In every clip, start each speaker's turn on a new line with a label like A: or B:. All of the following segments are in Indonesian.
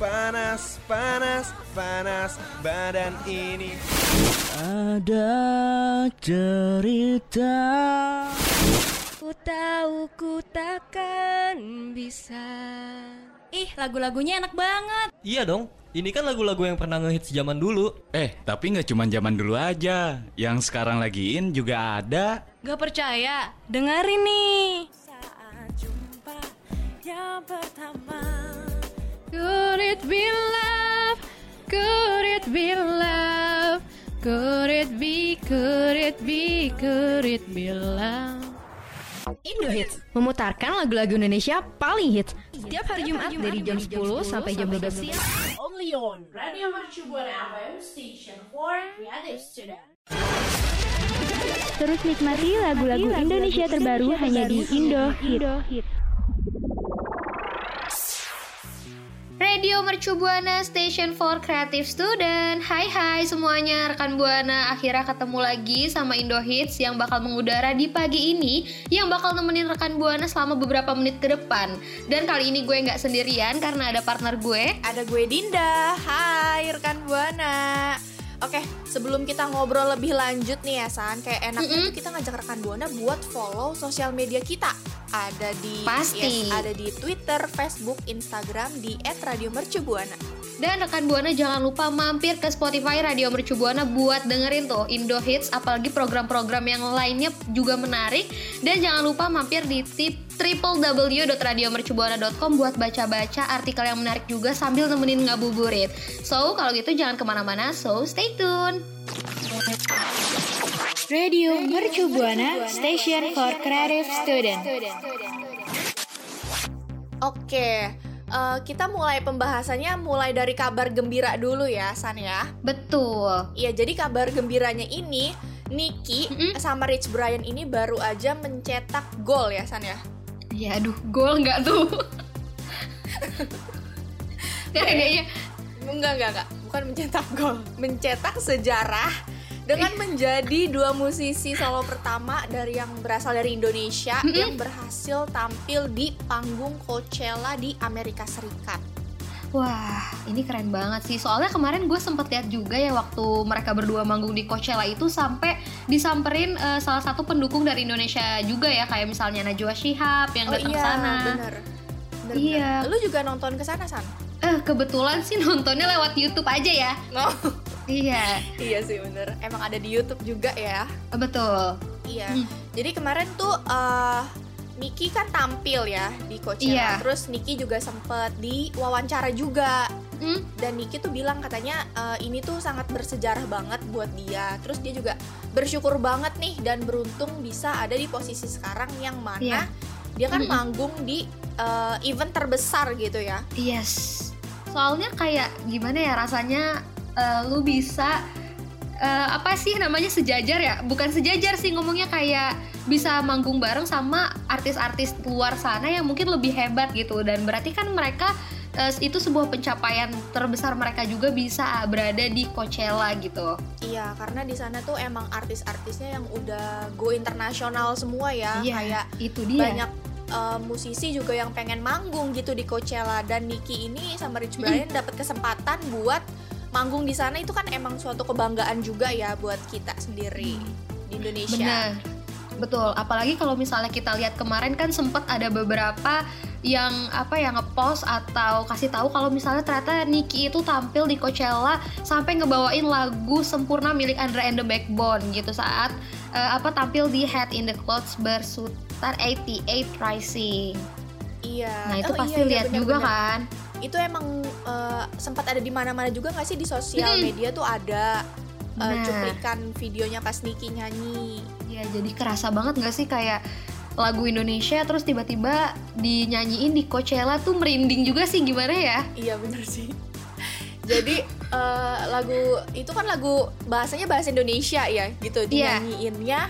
A: Panas, panas, panas badan ini
B: Ada cerita
C: Ku tahu ku takkan bisa Ih lagu-lagunya enak banget
D: Iya dong, ini kan lagu-lagu yang pernah ngehits zaman dulu.
E: Eh, tapi nggak cuma zaman dulu aja. Yang sekarang lagiin juga ada.
C: Gak percaya? Dengerin nih
F: saat jumpa yang pertama
C: Could it be love? Could it be love? Could it be, could it be, could it be love?
G: Indohits memutarkan lagu-lagu Indonesia paling hits Iya, setiap hari Jumat dari jam 10 sampai jam 12 siang.
H: only on Radio Mercubuana FM Station 4 Creative Student.
I: Terus nikmati lagu-lagu Indonesia terbaru hanya di Indo Hit.
J: Radio Mercu Buana Station for Creative Student. Hai hai semuanya rekan Buana, akhirnya ketemu lagi sama Indo Hits yang bakal mengudara di pagi ini, yang bakal nemenin rekan Buana selama beberapa menit ke depan. Dan kali ini gue nggak sendirian karena ada partner gue.
K: Ada gue Dinda. Hai rekan Buana. Oke, sebelum kita ngobrol lebih lanjut nih ya San, kayak enaknya tuh kita ngajak rekan Buana buat follow sosial media kita. Ada di
J: Pasti.
K: yes, ada di Twitter, Facebook, Instagram di @radiomercubuana.
J: Dan rekan Buana jangan lupa mampir ke Spotify Radio Mercu Buana buat dengerin tuh Indo Hits apalagi program-program yang lainnya juga menarik dan jangan lupa mampir di tip www.radiomercubuana.com buat baca-baca artikel yang menarik juga sambil nemenin ngabuburit. So, kalau gitu jangan kemana-mana, so stay tune.
I: Radio Mercu Buana Station for Creative Student.
K: Oke, eh, kita mulai pembahasannya mulai dari kabar gembira dulu ya San ya.
J: Betul.
K: Iya, jadi kabar gembiranya ini Niki sama Rich Brian ini baru aja mencetak gol ya San ya.
J: Ya aduh, gol nggak tuh? ya, ya, ya.
K: Enggak, enggak, enggak. Bukan mencetak gol, Eh. mencetak sejarah dengan menjadi dua musisi solo pertama dari yang berasal dari Indonesia yang berhasil tampil di panggung Coachella di Amerika Serikat.
J: Wah, ini keren banget sih. Soalnya kemarin gue sempet lihat juga ya waktu mereka berdua manggung di Coachella itu sampai disamperin eh, salah satu pendukung dari Indonesia juga ya, kayak misalnya Najwa Shihab yang
K: oh
J: datang
K: iya,
J: ke sana.
K: bener. Bener,
J: Iya.
K: bener. Lu juga nonton ke sana, San?
J: Eh, kebetulan sih nontonnya lewat YouTube aja ya.
K: No.
J: Iya,
K: iya sih bener. Emang ada di YouTube juga ya.
J: betul.
K: Iya.
J: Hmm.
K: Jadi kemarin tuh eh Niki kan tampil ya di
J: Iya.
K: Coachella. Terus Niki juga sempet diwawancara juga.
J: Hmm,
K: Dan Niki tuh bilang katanya eh, ini tuh sangat bersejarah banget buat dia. Terus dia juga bersyukur banget nih dan beruntung bisa ada di posisi sekarang yang mana
J: Iya.
K: dia kan
J: Mm-mm.
K: manggung di eh, event terbesar gitu ya.
J: yes. Soalnya kayak gimana ya rasanya eh, lu bisa eh, apa sih namanya sejajar ya? Bukan sejajar sih ngomongnya kayak bisa manggung bareng sama artis-artis luar sana yang mungkin lebih hebat gitu dan berarti kan mereka eh, itu sebuah pencapaian terbesar mereka juga bisa berada di Coachella gitu.
K: Iya, karena di sana tuh emang artis-artisnya yang udah go internasional semua ya,
J: Iya.
K: kayak
J: Itu dia.
K: banyak uh, musisi juga yang pengen manggung gitu di Coachella dan Niki ini sama Rich Brian dapat kesempatan buat manggung di sana itu kan emang suatu kebanggaan juga ya buat kita sendiri di Indonesia.
J: Mm. Benar. Betul, apalagi kalau misalnya kita lihat kemarin kan sempat ada beberapa yang apa ya ngepost atau kasih tahu kalau misalnya ternyata Niki itu tampil di Coachella sampai ngebawain lagu sempurna milik Andra and the Backbone gitu saat eh, apa tampil di Head in the Clouds bersutar 88 Rising. Nah,
K: Iya.
J: itu
K: Oh,
J: pasti
K: iya, iya,
J: lihat juga
K: benar-benar.
J: kan.
K: Itu emang uh, sempat ada di mana-mana juga nggak sih di sosial
J: Mm-mm.
K: media tuh ada uh,
J: Benar.
K: cuplikan videonya pas Niki nyanyi.
J: Ya, jadi kerasa banget nggak sih kayak lagu Indonesia terus tiba-tiba dinyanyiin di Coachella tuh merinding juga sih gimana ya?
K: Iya bener sih. Jadi eh, lagu itu kan lagu bahasanya bahasa Indonesia ya gitu
J: Iya.
K: dinyanyiinnya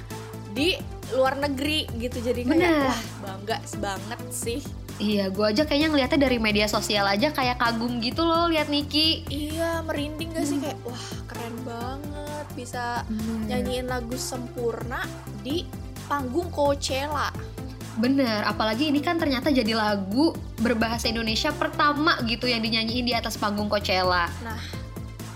K: di luar negeri gitu jadi kayak
J: Bener.
K: wah bangga banget sih.
J: Iya, gue aja kayaknya ngeliatnya dari media sosial aja kayak kagum gitu loh lihat Niki.
K: Iya merinding gak sih
J: Hmm.
K: kayak wah keren banget bisa nyanyiin lagu sempurna di panggung Coachella.
J: Bener, apalagi ini kan ternyata jadi lagu berbahasa Indonesia pertama gitu yang dinyanyiin di atas panggung Coachella.
K: Nah,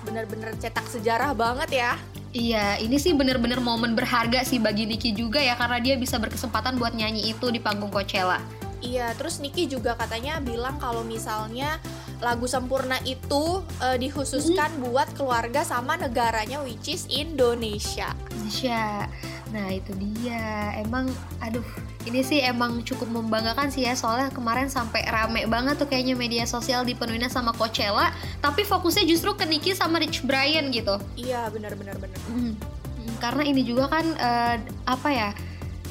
K: bener-bener cetak sejarah banget ya.
J: Iya, ini sih bener-bener momen berharga sih bagi Niki juga ya karena dia bisa berkesempatan buat nyanyi itu di panggung Coachella.
K: Iya, terus Niki juga katanya bilang kalau misalnya lagu sempurna itu eh, dikhususkan buat keluarga sama negaranya which is Indonesia.
J: Indonesia. Nah itu dia. Emang, aduh, ini sih emang cukup membanggakan sih ya. Soalnya kemarin sampai rame banget tuh kayaknya media sosial dipenuhi sama Coachella. Tapi fokusnya justru ke Nicki sama Rich Brian gitu.
K: Iya, benar-benar benar.
J: Mm. Mm, Karena ini juga kan eh, apa ya?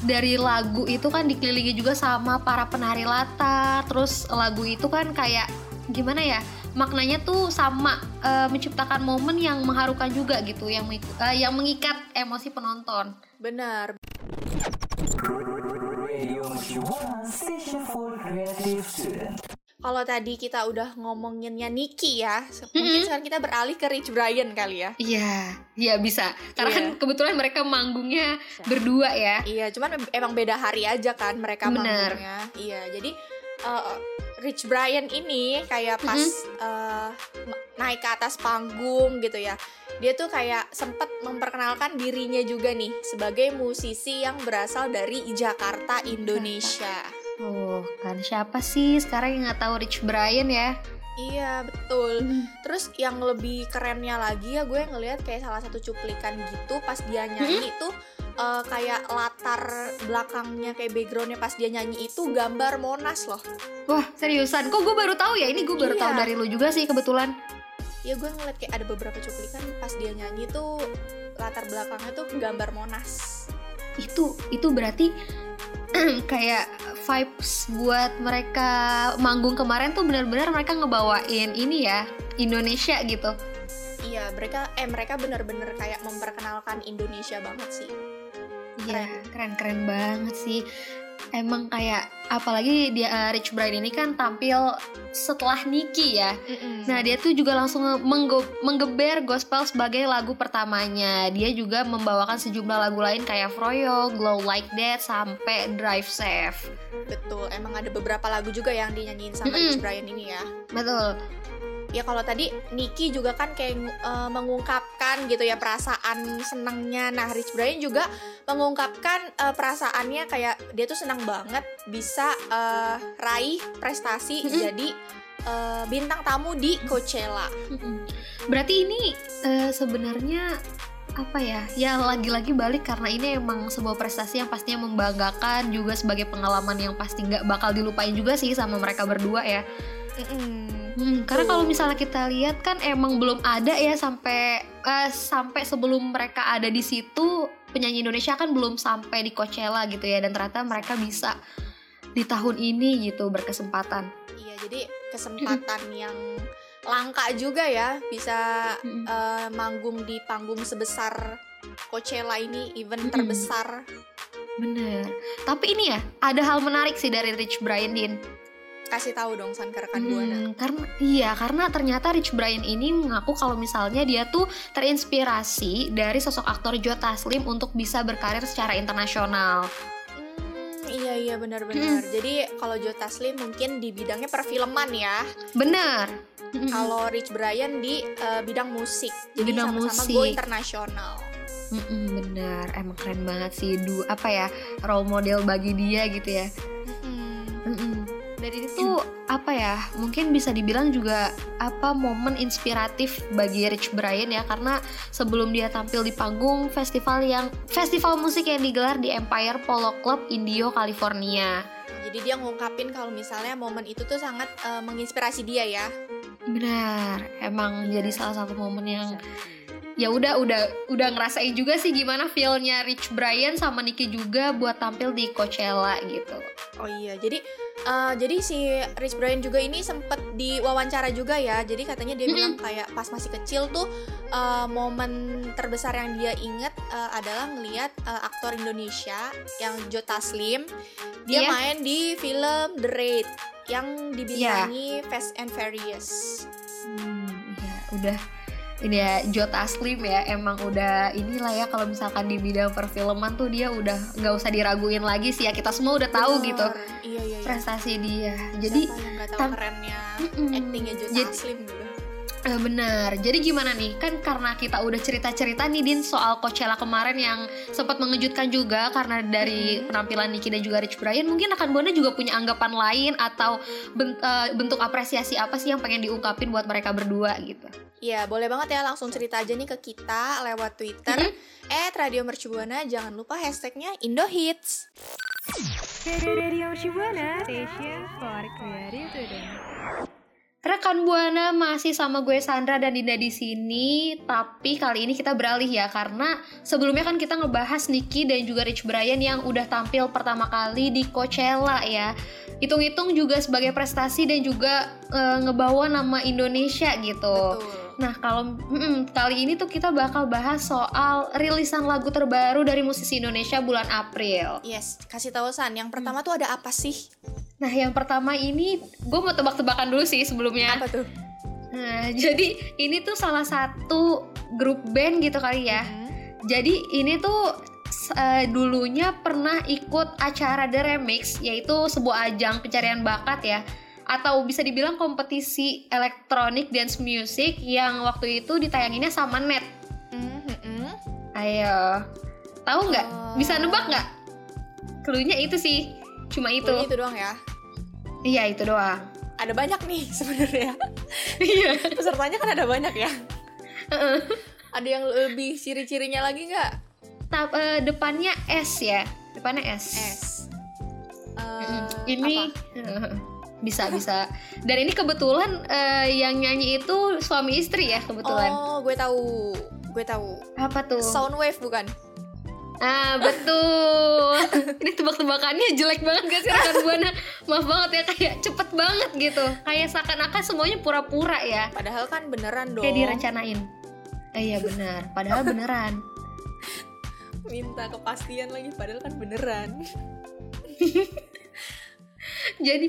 J: Dari lagu itu kan dikelilingi juga sama para penari latar. Terus lagu itu kan kayak gimana ya? Maknanya tuh sama eh, menciptakan momen yang mengharukan juga gitu, yang mengiku- eh, yang mengikat emosi penonton.
K: Benar. Kalau tadi kita udah ngomonginnya Niki ya, se- mungkin sekarang kita beralih ke Rich Brian kali ya.
J: Iya, iya bisa. Karena
K: Iya.
J: kan kebetulan mereka manggungnya berdua ya.
K: Iya, cuman em- emang beda hari aja kan mereka
J: Bener.
K: manggungnya. Iya, jadi eh, Rich Brian ini kayak pas
J: Mm-hmm.
K: eh, ma- naik ke atas panggung gitu ya. Dia tuh kayak sempet memperkenalkan dirinya juga nih sebagai musisi yang berasal dari Jakarta, Indonesia.
J: Tuh, kan siapa sih sekarang yang nggak tahu Rich Brian ya?
K: Iya betul. Terus yang lebih kerennya lagi ya gue ngelihat kayak salah satu cuplikan gitu pas dia nyanyi itu eh, kayak latar belakangnya kayak backgroundnya pas dia nyanyi itu gambar Monas loh.
J: Wah, seriusan. Kok gue baru tahu ya? Ini gue baru
K: Iya.
J: tahu dari lu juga sih kebetulan.
K: Ya gue ngeliat kayak ada beberapa cuplikan pas dia nyanyi tuh latar belakangnya tuh gambar Monas.
J: Itu itu berarti kayak vibes buat mereka manggung kemarin tuh benar-benar mereka ngebawain ini ya Indonesia gitu.
K: Iya mereka eh mereka bener-bener kayak memperkenalkan Indonesia banget sih.
J: Iya, keren-keren banget sih. Emang kayak apalagi dia eh, Rich Brian ini kan tampil setelah Nicki ya. Nah, dia tuh juga langsung nge- menggo- menggeber gospel sebagai lagu pertamanya. Dia juga membawakan sejumlah lagu lain kayak Froyo, Glow Like That, sampai Drive Safe.
K: Betul, emang ada beberapa lagu juga yang dinyanyiin sama
J: Mm-mm.
K: Rich Brian ini ya.
J: Betul.
K: ya kalau tadi Niki juga kan kayak eh, mengungkapkan gitu ya perasaan senangnya nah Rich Brian juga mengungkapkan eh, perasaannya kayak dia tuh senang banget bisa eh, raih prestasi jadi eh, bintang tamu di Coachella
J: Mm-mm. Berarti ini eh, sebenarnya apa ya? Ya lagi-lagi balik karena ini emang sebuah prestasi yang pastinya membanggakan juga sebagai pengalaman yang pasti nggak bakal dilupain juga sih sama mereka berdua ya. Hmm, karena kalau misalnya kita lihat kan emang belum ada ya sampai eh, sampai sebelum mereka ada di situ penyanyi Indonesia kan belum sampai di Coachella gitu ya dan ternyata mereka bisa di tahun ini gitu berkesempatan.
K: iya jadi kesempatan yang langka juga ya bisa eh, manggung di panggung sebesar Coachella ini event terbesar
J: Bener. Tapi ini ya ada hal menarik sih dari Rich Brian Din.
K: kasih tahu dong San ke rekan
J: Hmm,
K: Buana
J: karena iya karena ternyata Rich Brian ini mengaku kalau misalnya dia tuh terinspirasi dari sosok aktor Joe Taslim untuk bisa berkarir secara internasional.
K: Hmm, Iya iya benar-benar. Jadi kalau Joe Taslim mungkin di bidangnya perfilman ya.
J: Bener.
K: Kalau Rich Brian di eh, bidang musik. Jadi
J: Bidang
K: sama-sama
J: musik.
K: go internasional.
J: Mm-mm, bener, emang keren banget sih du apa ya role model bagi dia gitu ya. Mm-mm. Dan ini tuh apa ya? Mungkin bisa dibilang juga apa momen inspiratif bagi Rich Brian ya karena sebelum dia tampil di panggung festival yang festival musik yang digelar di Empire Polo Club Indio California.
K: Jadi dia ngungkapin kalau misalnya momen itu tuh sangat eh, menginspirasi dia ya.
J: Benar, emang jadi salah satu momen yang ya udah udah udah ngerasain juga sih gimana feelnya Rich Brian sama Nicky juga buat tampil di Coachella gitu.
K: Oh iya, jadi eh, jadi si Rich Brian juga ini sempet diwawancara juga ya. Jadi katanya dia bilang kayak pas masih kecil tuh eh, momen terbesar yang dia inget eh, adalah ngelihat eh, aktor Indonesia yang Joe Taslim dia
J: Iya.
K: main di film The Raid
J: Iya.
K: yang dibintangi Fast and Furious.
J: Hmm, ya udah ini ya Jota Slim ya emang udah inilah ya kalau misalkan di bidang perfilman tuh dia udah nggak usah diraguin lagi sih ya kita semua udah tahu
K: Bener.
J: gitu
K: Iya, iya, iya.
J: prestasi dia jadi
K: Siapa yang nggak tahu
J: tam-
K: kerennya
J: Mm-mm.
K: actingnya Jota
J: Jadi-
K: Slim gitu. dulu.
J: Eh, benar. Jadi gimana nih? Kan karena kita udah cerita-cerita nih Din soal Coachella kemarin yang sempat mengejutkan juga karena dari penampilan Nicki dan juga Rich Brian, mungkin rekan Buana juga punya anggapan lain atau ben- eh, bentuk apresiasi apa sih yang pengen diungkapin buat mereka berdua gitu.
K: Iya, boleh banget ya langsung cerita aja nih ke kita lewat Twitter.
J: Mm-hmm.
K: Eh, Radio Mercubuana, jangan lupa hashtagnya Indohits.
J: Rekan Buana masih sama gue Sandra dan Dinda di sini, tapi kali ini kita beralih ya karena sebelumnya kan kita ngebahas Nicky dan juga Rich Brian yang udah tampil pertama kali di Coachella ya. Hitung-hitung juga sebagai prestasi dan juga eh, ngebawa nama Indonesia gitu. Nah, kalau mm-mm, kali ini tuh kita bakal bahas soal rilisan lagu terbaru dari musisi Indonesia bulan April.
K: Yes, kasih tahu San. Yang pertama
J: Mm.
K: tuh ada apa sih?
J: Nah, yang pertama ini gue mau tebak-tebakan dulu sih sebelumnya.
K: Apa tuh?
J: Nah, jadi ini tuh salah satu grup band gitu kali ya. Jadi ini tuh s- eh, dulunya pernah ikut acara The Remix, yaitu sebuah ajang pencarian bakat ya. Atau bisa dibilang kompetisi elektronik dance music yang waktu itu ditayanginnya sama Net.
K: Mm-hmm.
J: Ayo, tahu nggak? Bisa nebak nggak? Cluenya itu sih, cuma itu.
K: Itu. itu doang ya.
J: Iya itu doang.
K: Ada banyak nih sebenarnya.
J: Iya.
K: Pesertanya kan ada banyak ya. ada yang lebih ciri-cirinya lagi nggak?
J: Tap, eh, depannya S ya, depannya S.
K: Eh,
J: ini bisa bisa dan ini kebetulan eh, yang nyanyi itu suami istri ya kebetulan
K: Oh, gue tahu. Gue tahu.
J: apa tuh
K: Soundwave bukan?
J: ah betul ini tebak-tebakannya jelek banget gak sih rekan buana maaf banget ya kayak cepet banget gitu kayak seakan-akan semuanya pura-pura ya
K: Padahal kan beneran dong.
J: kayak direncanain Eh, iya benar padahal beneran
K: Minta kepastian lagi padahal kan beneran.
J: jadi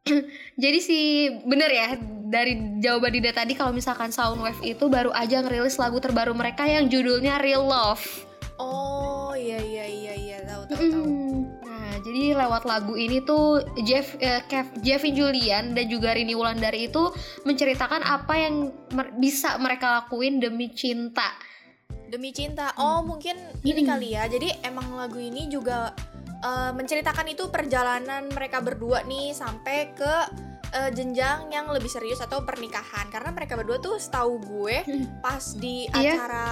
J: jadi sih bener ya dari jawaban Dinda tadi kalau misalkan Soundwave itu baru aja ngerilis lagu terbaru mereka yang judulnya Real Love
K: Oh, iya iya iya iya, tahu tahu tahu.
J: Mm. Nah, jadi lewat lagu ini tuh Jeff eh, Kev- Jeffin Julian dan juga Rini Wulandari itu menceritakan apa yang mer- bisa mereka lakuin demi cinta.
K: Demi cinta. Oh, mungkin ini kali ya. Jadi emang lagu ini juga eh, menceritakan itu perjalanan mereka berdua nih sampai ke eh, jenjang yang lebih serius atau pernikahan. Karena mereka berdua tuh setahu gue pas di
J: Iya.
K: acara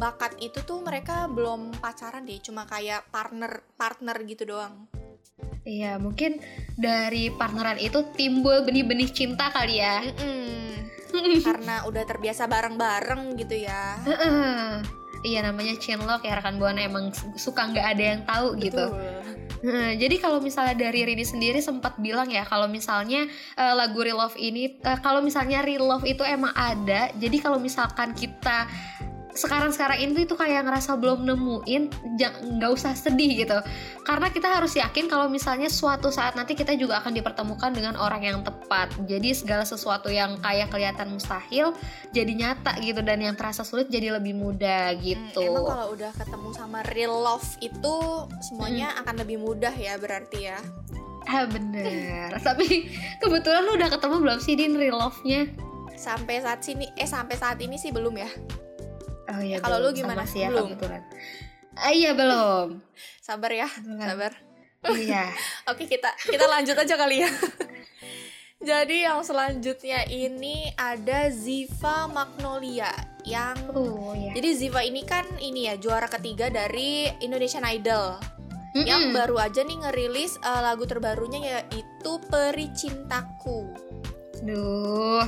K: bakat itu tuh mereka belum pacaran deh, cuma kayak partner partner gitu doang.
J: Iya, mungkin dari partneran itu timbul benih-benih cinta kali ya.
K: Mm-mm. Karena udah terbiasa bareng-bareng gitu ya.
J: Heeh. Iya namanya Chinlock ya rekan buana emang suka nggak ada yang tahu gitu.
K: Betul.
J: Nah, jadi kalau misalnya dari Rini sendiri sempat bilang ya kalau misalnya eh, lagu Real Love ini eh, kalau misalnya Real Love itu emang ada. Jadi kalau misalkan kita sekarang-sekarang ini tuh kayak ngerasa belum nemuin ja- nggak usah sedih gitu karena kita harus yakin kalau misalnya suatu saat nanti kita juga akan dipertemukan dengan orang yang tepat jadi segala sesuatu yang kayak kelihatan mustahil jadi nyata gitu dan yang terasa sulit jadi lebih mudah gitu
K: Hmm, Emang kalau udah ketemu sama real love itu semuanya
J: Hmm.
K: akan lebih mudah ya berarti ya.
J: Ah bener Tapi kebetulan lu udah ketemu belum sih Din real love-nya?
K: Sampai saat sini eh sampai saat ini sih belum ya.
J: Oh iya
K: Kalau lu
J: belum. Sama
K: gimana?
J: sih ya
K: Belum.
J: kebetulan Ah, Iya belum
K: Sabar ya,
J: Beneran.
K: sabar.
J: Iya
K: Oke, kita kita lanjut aja kali ya. Jadi yang selanjutnya ini ada Ziva Magnolia yang
J: Oh iya
K: Jadi Ziva ini kan ini ya juara ketiga dari Indonesian Idol. Yang
J: Mm-mm.
K: baru aja nih ngerilis eh, lagu terbarunya yaitu Peri Cintaku.
J: Duh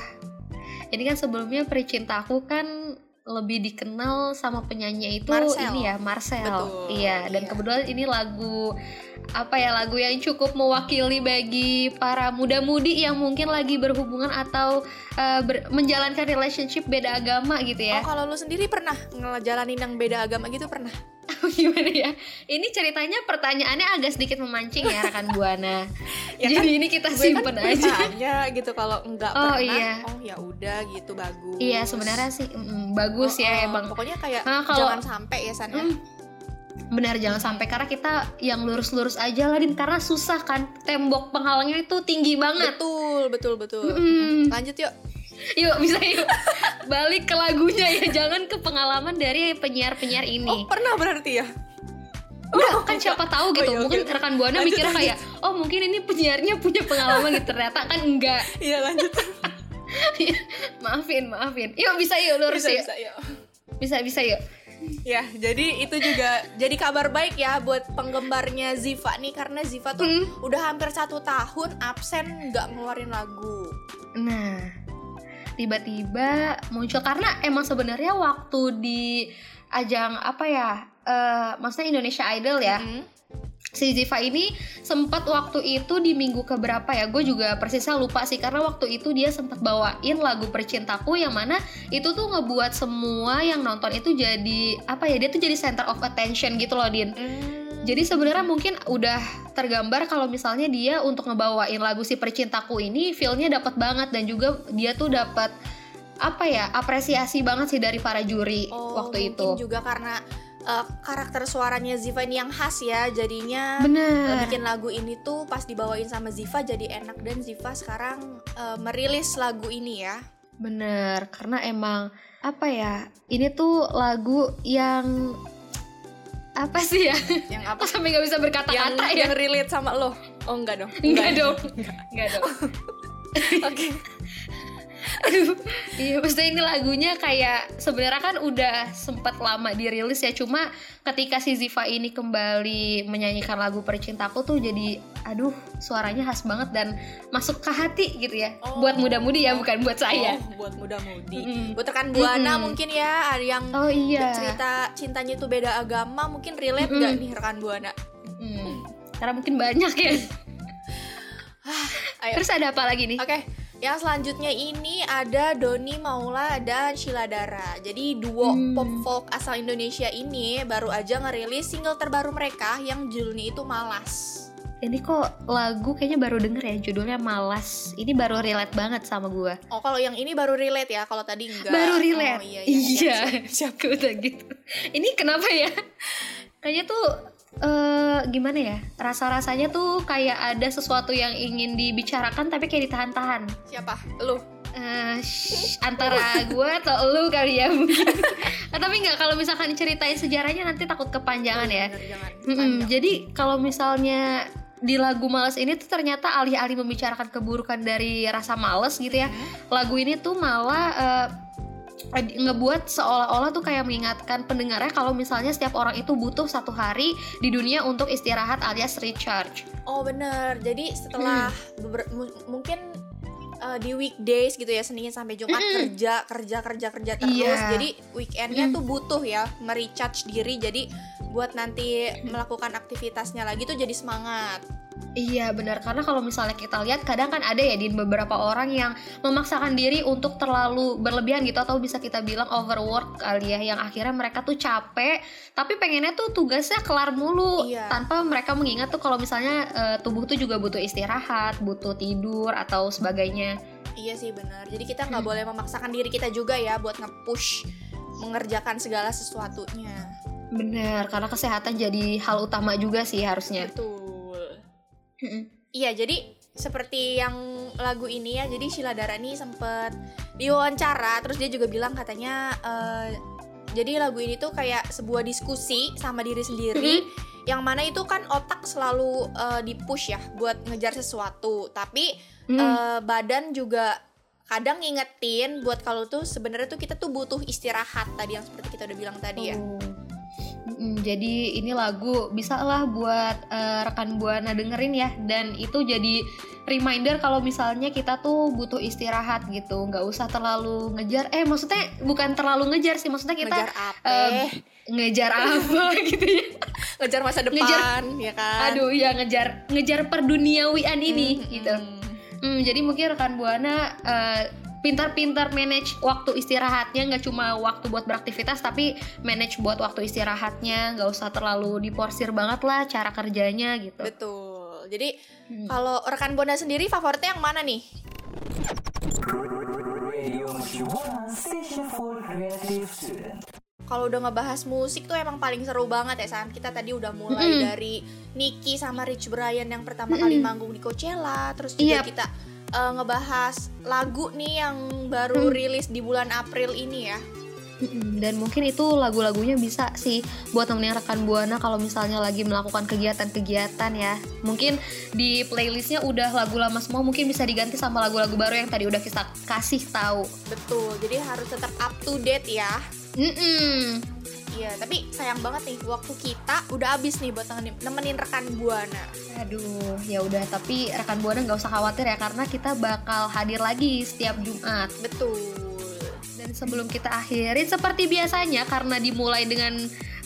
J: Ini kan sebelumnya Pericintaku kan lebih dikenal sama penyanyi itu
K: Marcel.
J: ini ya Marcel
K: Betul,
J: iya dan
K: iya.
J: kebetulan ini lagu apa ya lagu yang cukup mewakili bagi para muda-mudi yang mungkin lagi berhubungan atau eh, ber- menjalankan relationship beda agama gitu ya
K: Oh, kalau lu sendiri pernah ngejalanin yang beda agama gitu pernah?
J: gimana ya? Ini ceritanya pertanyaannya agak sedikit memancing ya rekan buana. Jadi ini kita
K: Ya gue
J: simpen
K: kan
J: aja.
K: bertanya gitu kalau nggak
J: Oh,
K: pernah
J: iya.
K: oh ya udah gitu bagus
J: Iya sebenarnya sih mm, bagus
K: Oh,
J: ya
K: oh,
J: emang.
K: pokoknya kayak
J: Ah, kalau- Mm,
K: jangan sampai ya San ya.
J: Benar jangan sampai karena kita yang lurus-lurus aja lah din karena susah kan tembok penghalangnya itu tinggi banget.
K: betul betul betul
J: Mm-mm.
K: lanjut yuk
J: Yuk bisa yuk balik ke lagunya ya jangan ke pengalaman dari penyiar-penyiar ini.
K: pernah berarti ya
J: Udah, kan siapa tahu gitu
K: iya, oke.
J: mungkin rekan buana
K: Lanjut,
J: mikirnya kayak oh mungkin ini penyiarnya punya pengalaman gitu ternyata kan enggak.
K: iya lanjut
J: maafin maafin. Yuk bisa yuk lurus
K: bisa
J: yuk.
K: bisa yuk
J: Bisa bisa yuk.
K: Ya, jadi itu juga jadi kabar baik ya buat penggemarnya Ziva nih karena Ziva tuh
J: Mm.
K: udah hampir satu tahun absen nggak ngeluarin lagu.
J: Nah, tiba-tiba muncul karena emang sebenarnya waktu di ajang apa ya? eh maksudnya Indonesia Idol ya.
K: Mm.
J: Si Ziva ini sempat waktu itu di minggu keberapa ya? Gue juga persisnya lupa sih karena waktu itu dia sempat bawain lagu Percintaku yang mana itu tuh ngebuat semua yang nonton itu jadi apa ya? Dia tuh jadi center of attention gitu loh, Din.
K: Hmm.
J: Jadi sebenarnya mungkin udah tergambar kalau misalnya dia untuk ngebawain lagu si percintaku ini feelnya dapat banget dan juga dia tuh dapat apa ya apresiasi banget sih dari para juri Gitu. waktu
K: Oh, mungkin
J: itu.
K: juga karena eh, karakter suaranya Ziva ini yang khas ya, jadinya eh,
J: Bener.
K: bikin lagu ini tuh pas dibawain sama Ziva jadi enak dan Ziva sekarang eh, merilis lagu ini ya.
J: Bener, karena emang apa ya? Ini tuh lagu yang apa sih ya?
K: Yang apa?
J: Kok sampai nggak bisa
K: yang,
J: berkata-kata ya?
K: yang relate sama lo. Oh enggak dong.
J: Enggak dong. Enggak dong.
K: Oke.
J: Aduh, iya maksudnya ini lagunya kayak sebenarnya kan udah sempat lama dirilis ya cuma ketika si Ziva ini kembali menyanyikan lagu percintaku tuh jadi aduh suaranya khas banget dan masuk ke hati gitu ya
K: Oh.
J: buat muda-mudi ya bukan buat saya
K: Oh, buat muda-mudi.
J: Mm-mm.
K: Buat rekan buana
J: Mm-mm.
K: mungkin ya ada yang
J: oh iya
K: cerita cintanya itu beda agama mungkin relate nggak
J: Mm-mm.
K: nih rekan buana?
J: Mm. karena mungkin banyak ya
K: Ayo.
J: terus ada apa lagi nih
K: Oke, yang selanjutnya ini ada Doni Maula dan Sheila Dara. Jadi duo
J: Hmm.
K: pop folk asal Indonesia ini baru aja ngerilis single terbaru mereka yang judulnya itu Malas.
J: ini kok lagu kayaknya baru denger ya judulnya malas ini baru relate banget sama gua
K: Oh, kalau yang ini baru relate ya, kalau tadi enggak.
J: baru relate.
K: Oh, iya, iya.
J: iya, Aku udah gitu. Ini kenapa ya? Kayaknya tuh eh gimana ya? Rasa-rasanya tuh kayak ada sesuatu yang ingin dibicarakan tapi kayak ditahan-tahan.
K: Siapa? Lu.
J: Eh, shh, antara gue atau lu kali ya mungkin. Ah, tapi nggak kalau misalkan ceritain sejarahnya nanti takut kepanjangan ya.
K: Bener, jangan.
J: Mm-mm,
K: Panjang.
J: jadi kalau misalnya di lagu Males ini tuh ternyata alih-alih membicarakan keburukan dari rasa males gitu ya. Lagu ini tuh malah eh, eh, ngebuat seolah-olah tuh kayak mengingatkan pendengarnya kalau misalnya setiap orang itu butuh satu hari di dunia untuk istirahat alias recharge.
K: Oh, bener. Jadi setelah beber- mu- mungkin eh, di weekdays gitu ya Senin sampai Jumat kerja kerja kerja kerja terus
J: Iya.
K: jadi weekendnya
J: Mm.
K: tuh butuh ya merecharge diri jadi buat nanti melakukan aktivitasnya lagi tuh jadi semangat
J: Iya benar karena kalau misalnya kita lihat kadang kan ada ya di beberapa orang yang memaksakan diri untuk terlalu berlebihan gitu atau bisa kita bilang overwork kali ya yang akhirnya mereka tuh capek tapi pengennya tuh tugasnya kelar mulu
K: Iya.
J: tanpa mereka mengingat tuh kalau misalnya eh, tubuh tuh juga butuh istirahat, butuh tidur atau sebagainya.
K: iya sih bener jadi kita nggak
J: Mm.
K: boleh memaksakan diri kita juga ya buat nge-push mengerjakan segala sesuatunya
J: Benar karena kesehatan jadi hal utama juga sih harusnya.
K: betul
J: Mm-mm.
K: Iya, jadi seperti yang lagu ini ya, jadi Sheila Dara nih sempet diwawancara, terus dia juga bilang katanya eh, jadi lagu ini tuh kayak sebuah diskusi sama diri sendiri,
J: Mhm.
K: yang mana itu kan otak selalu eh, dipush ya buat ngejar sesuatu, tapi
J: Mm.
K: eh, badan juga kadang ngingetin buat kalau tuh sebenarnya tuh kita tuh butuh istirahat tadi yang seperti kita udah bilang tadi ya.
J: Oh. Mm, Jadi ini lagu bisa lah buat eh, rekan buana dengerin ya dan itu jadi reminder kalau misalnya kita tuh butuh istirahat gitu nggak usah terlalu ngejar eh maksudnya bukan terlalu ngejar sih maksudnya
K: ngejar
J: Oh, kita
K: apa?
J: eh, ngejar apa gitu ya
K: ngejar masa depan,
J: ngejar-
K: ya kan?
J: aduh ya ngejar ngejar perduniawian ini
K: Mm,
J: gitu
K: mm.
J: Hmm, jadi mungkin rekan buana eh, pintar-pintar manage waktu istirahatnya nggak cuma waktu buat beraktivitas tapi manage buat waktu istirahatnya nggak usah terlalu diporsir banget lah cara kerjanya gitu
K: Betul. Jadi kalau rekan Bonda sendiri favoritnya yang mana nih? Kalau udah ngebahas musik tuh emang paling seru banget ya San. Kita tadi udah mulai
J: Mm-mm.
K: dari Nicky sama Rich Brian yang pertama
J: Mm-mm.
K: kali manggung di Coachella, terus juga
J: Yap.
K: kita eh, ngebahas lagu nih yang baru rilis di bulan April ini ya.
J: Mm-mm, dan mungkin itu lagu-lagunya bisa sih buat temenin rekan buana kalau misalnya lagi melakukan kegiatan-kegiatan ya mungkin di playlistnya udah lagu lama semua mungkin bisa diganti sama lagu-lagu baru yang tadi udah kita kasih tahu
K: Betul. Jadi harus tetap up to date ya.
J: Mm-mm.
K: Iya, tapi sayang banget nih waktu kita udah habis nih buat nemenin- nemenin rekan Buana.
J: Aduh, ya udah. Tapi rekan buana nggak usah khawatir ya, karena kita bakal hadir lagi setiap Jumat.
K: Betul.
J: Dan sebelum kita akhirin, seperti biasanya, karena dimulai dengan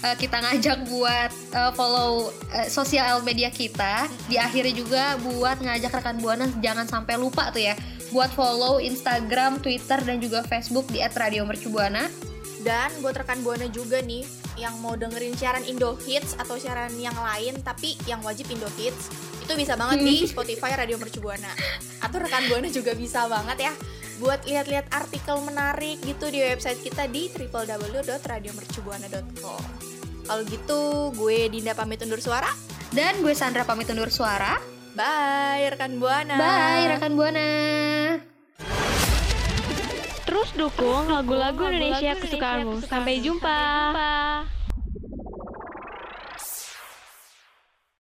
J: eh, kita ngajak buat eh, follow eh, sosial media kita, diakhiri juga buat ngajak rekan buana jangan sampai lupa tuh ya, buat follow Instagram, Twitter, dan juga Facebook di @radiomercubuana.
K: Dan buat rekan Buana juga nih yang mau dengerin siaran Indo Hits atau siaran yang lain tapi yang wajib Indo Hits itu bisa banget di Spotify Radio Mercu Buana. Atau rekan Buana juga bisa banget ya buat lihat-lihat artikel menarik gitu di website kita di www.radiomercubuana.com. Kalau gitu gue Dinda pamit undur suara.
J: Dan gue Sandra pamit undur suara.
K: Bye rekan Buana.
J: Bye rekan buana.
I: Terus dukung lagu-lagu Indonesia kesukaanmu. Sampai jumpa.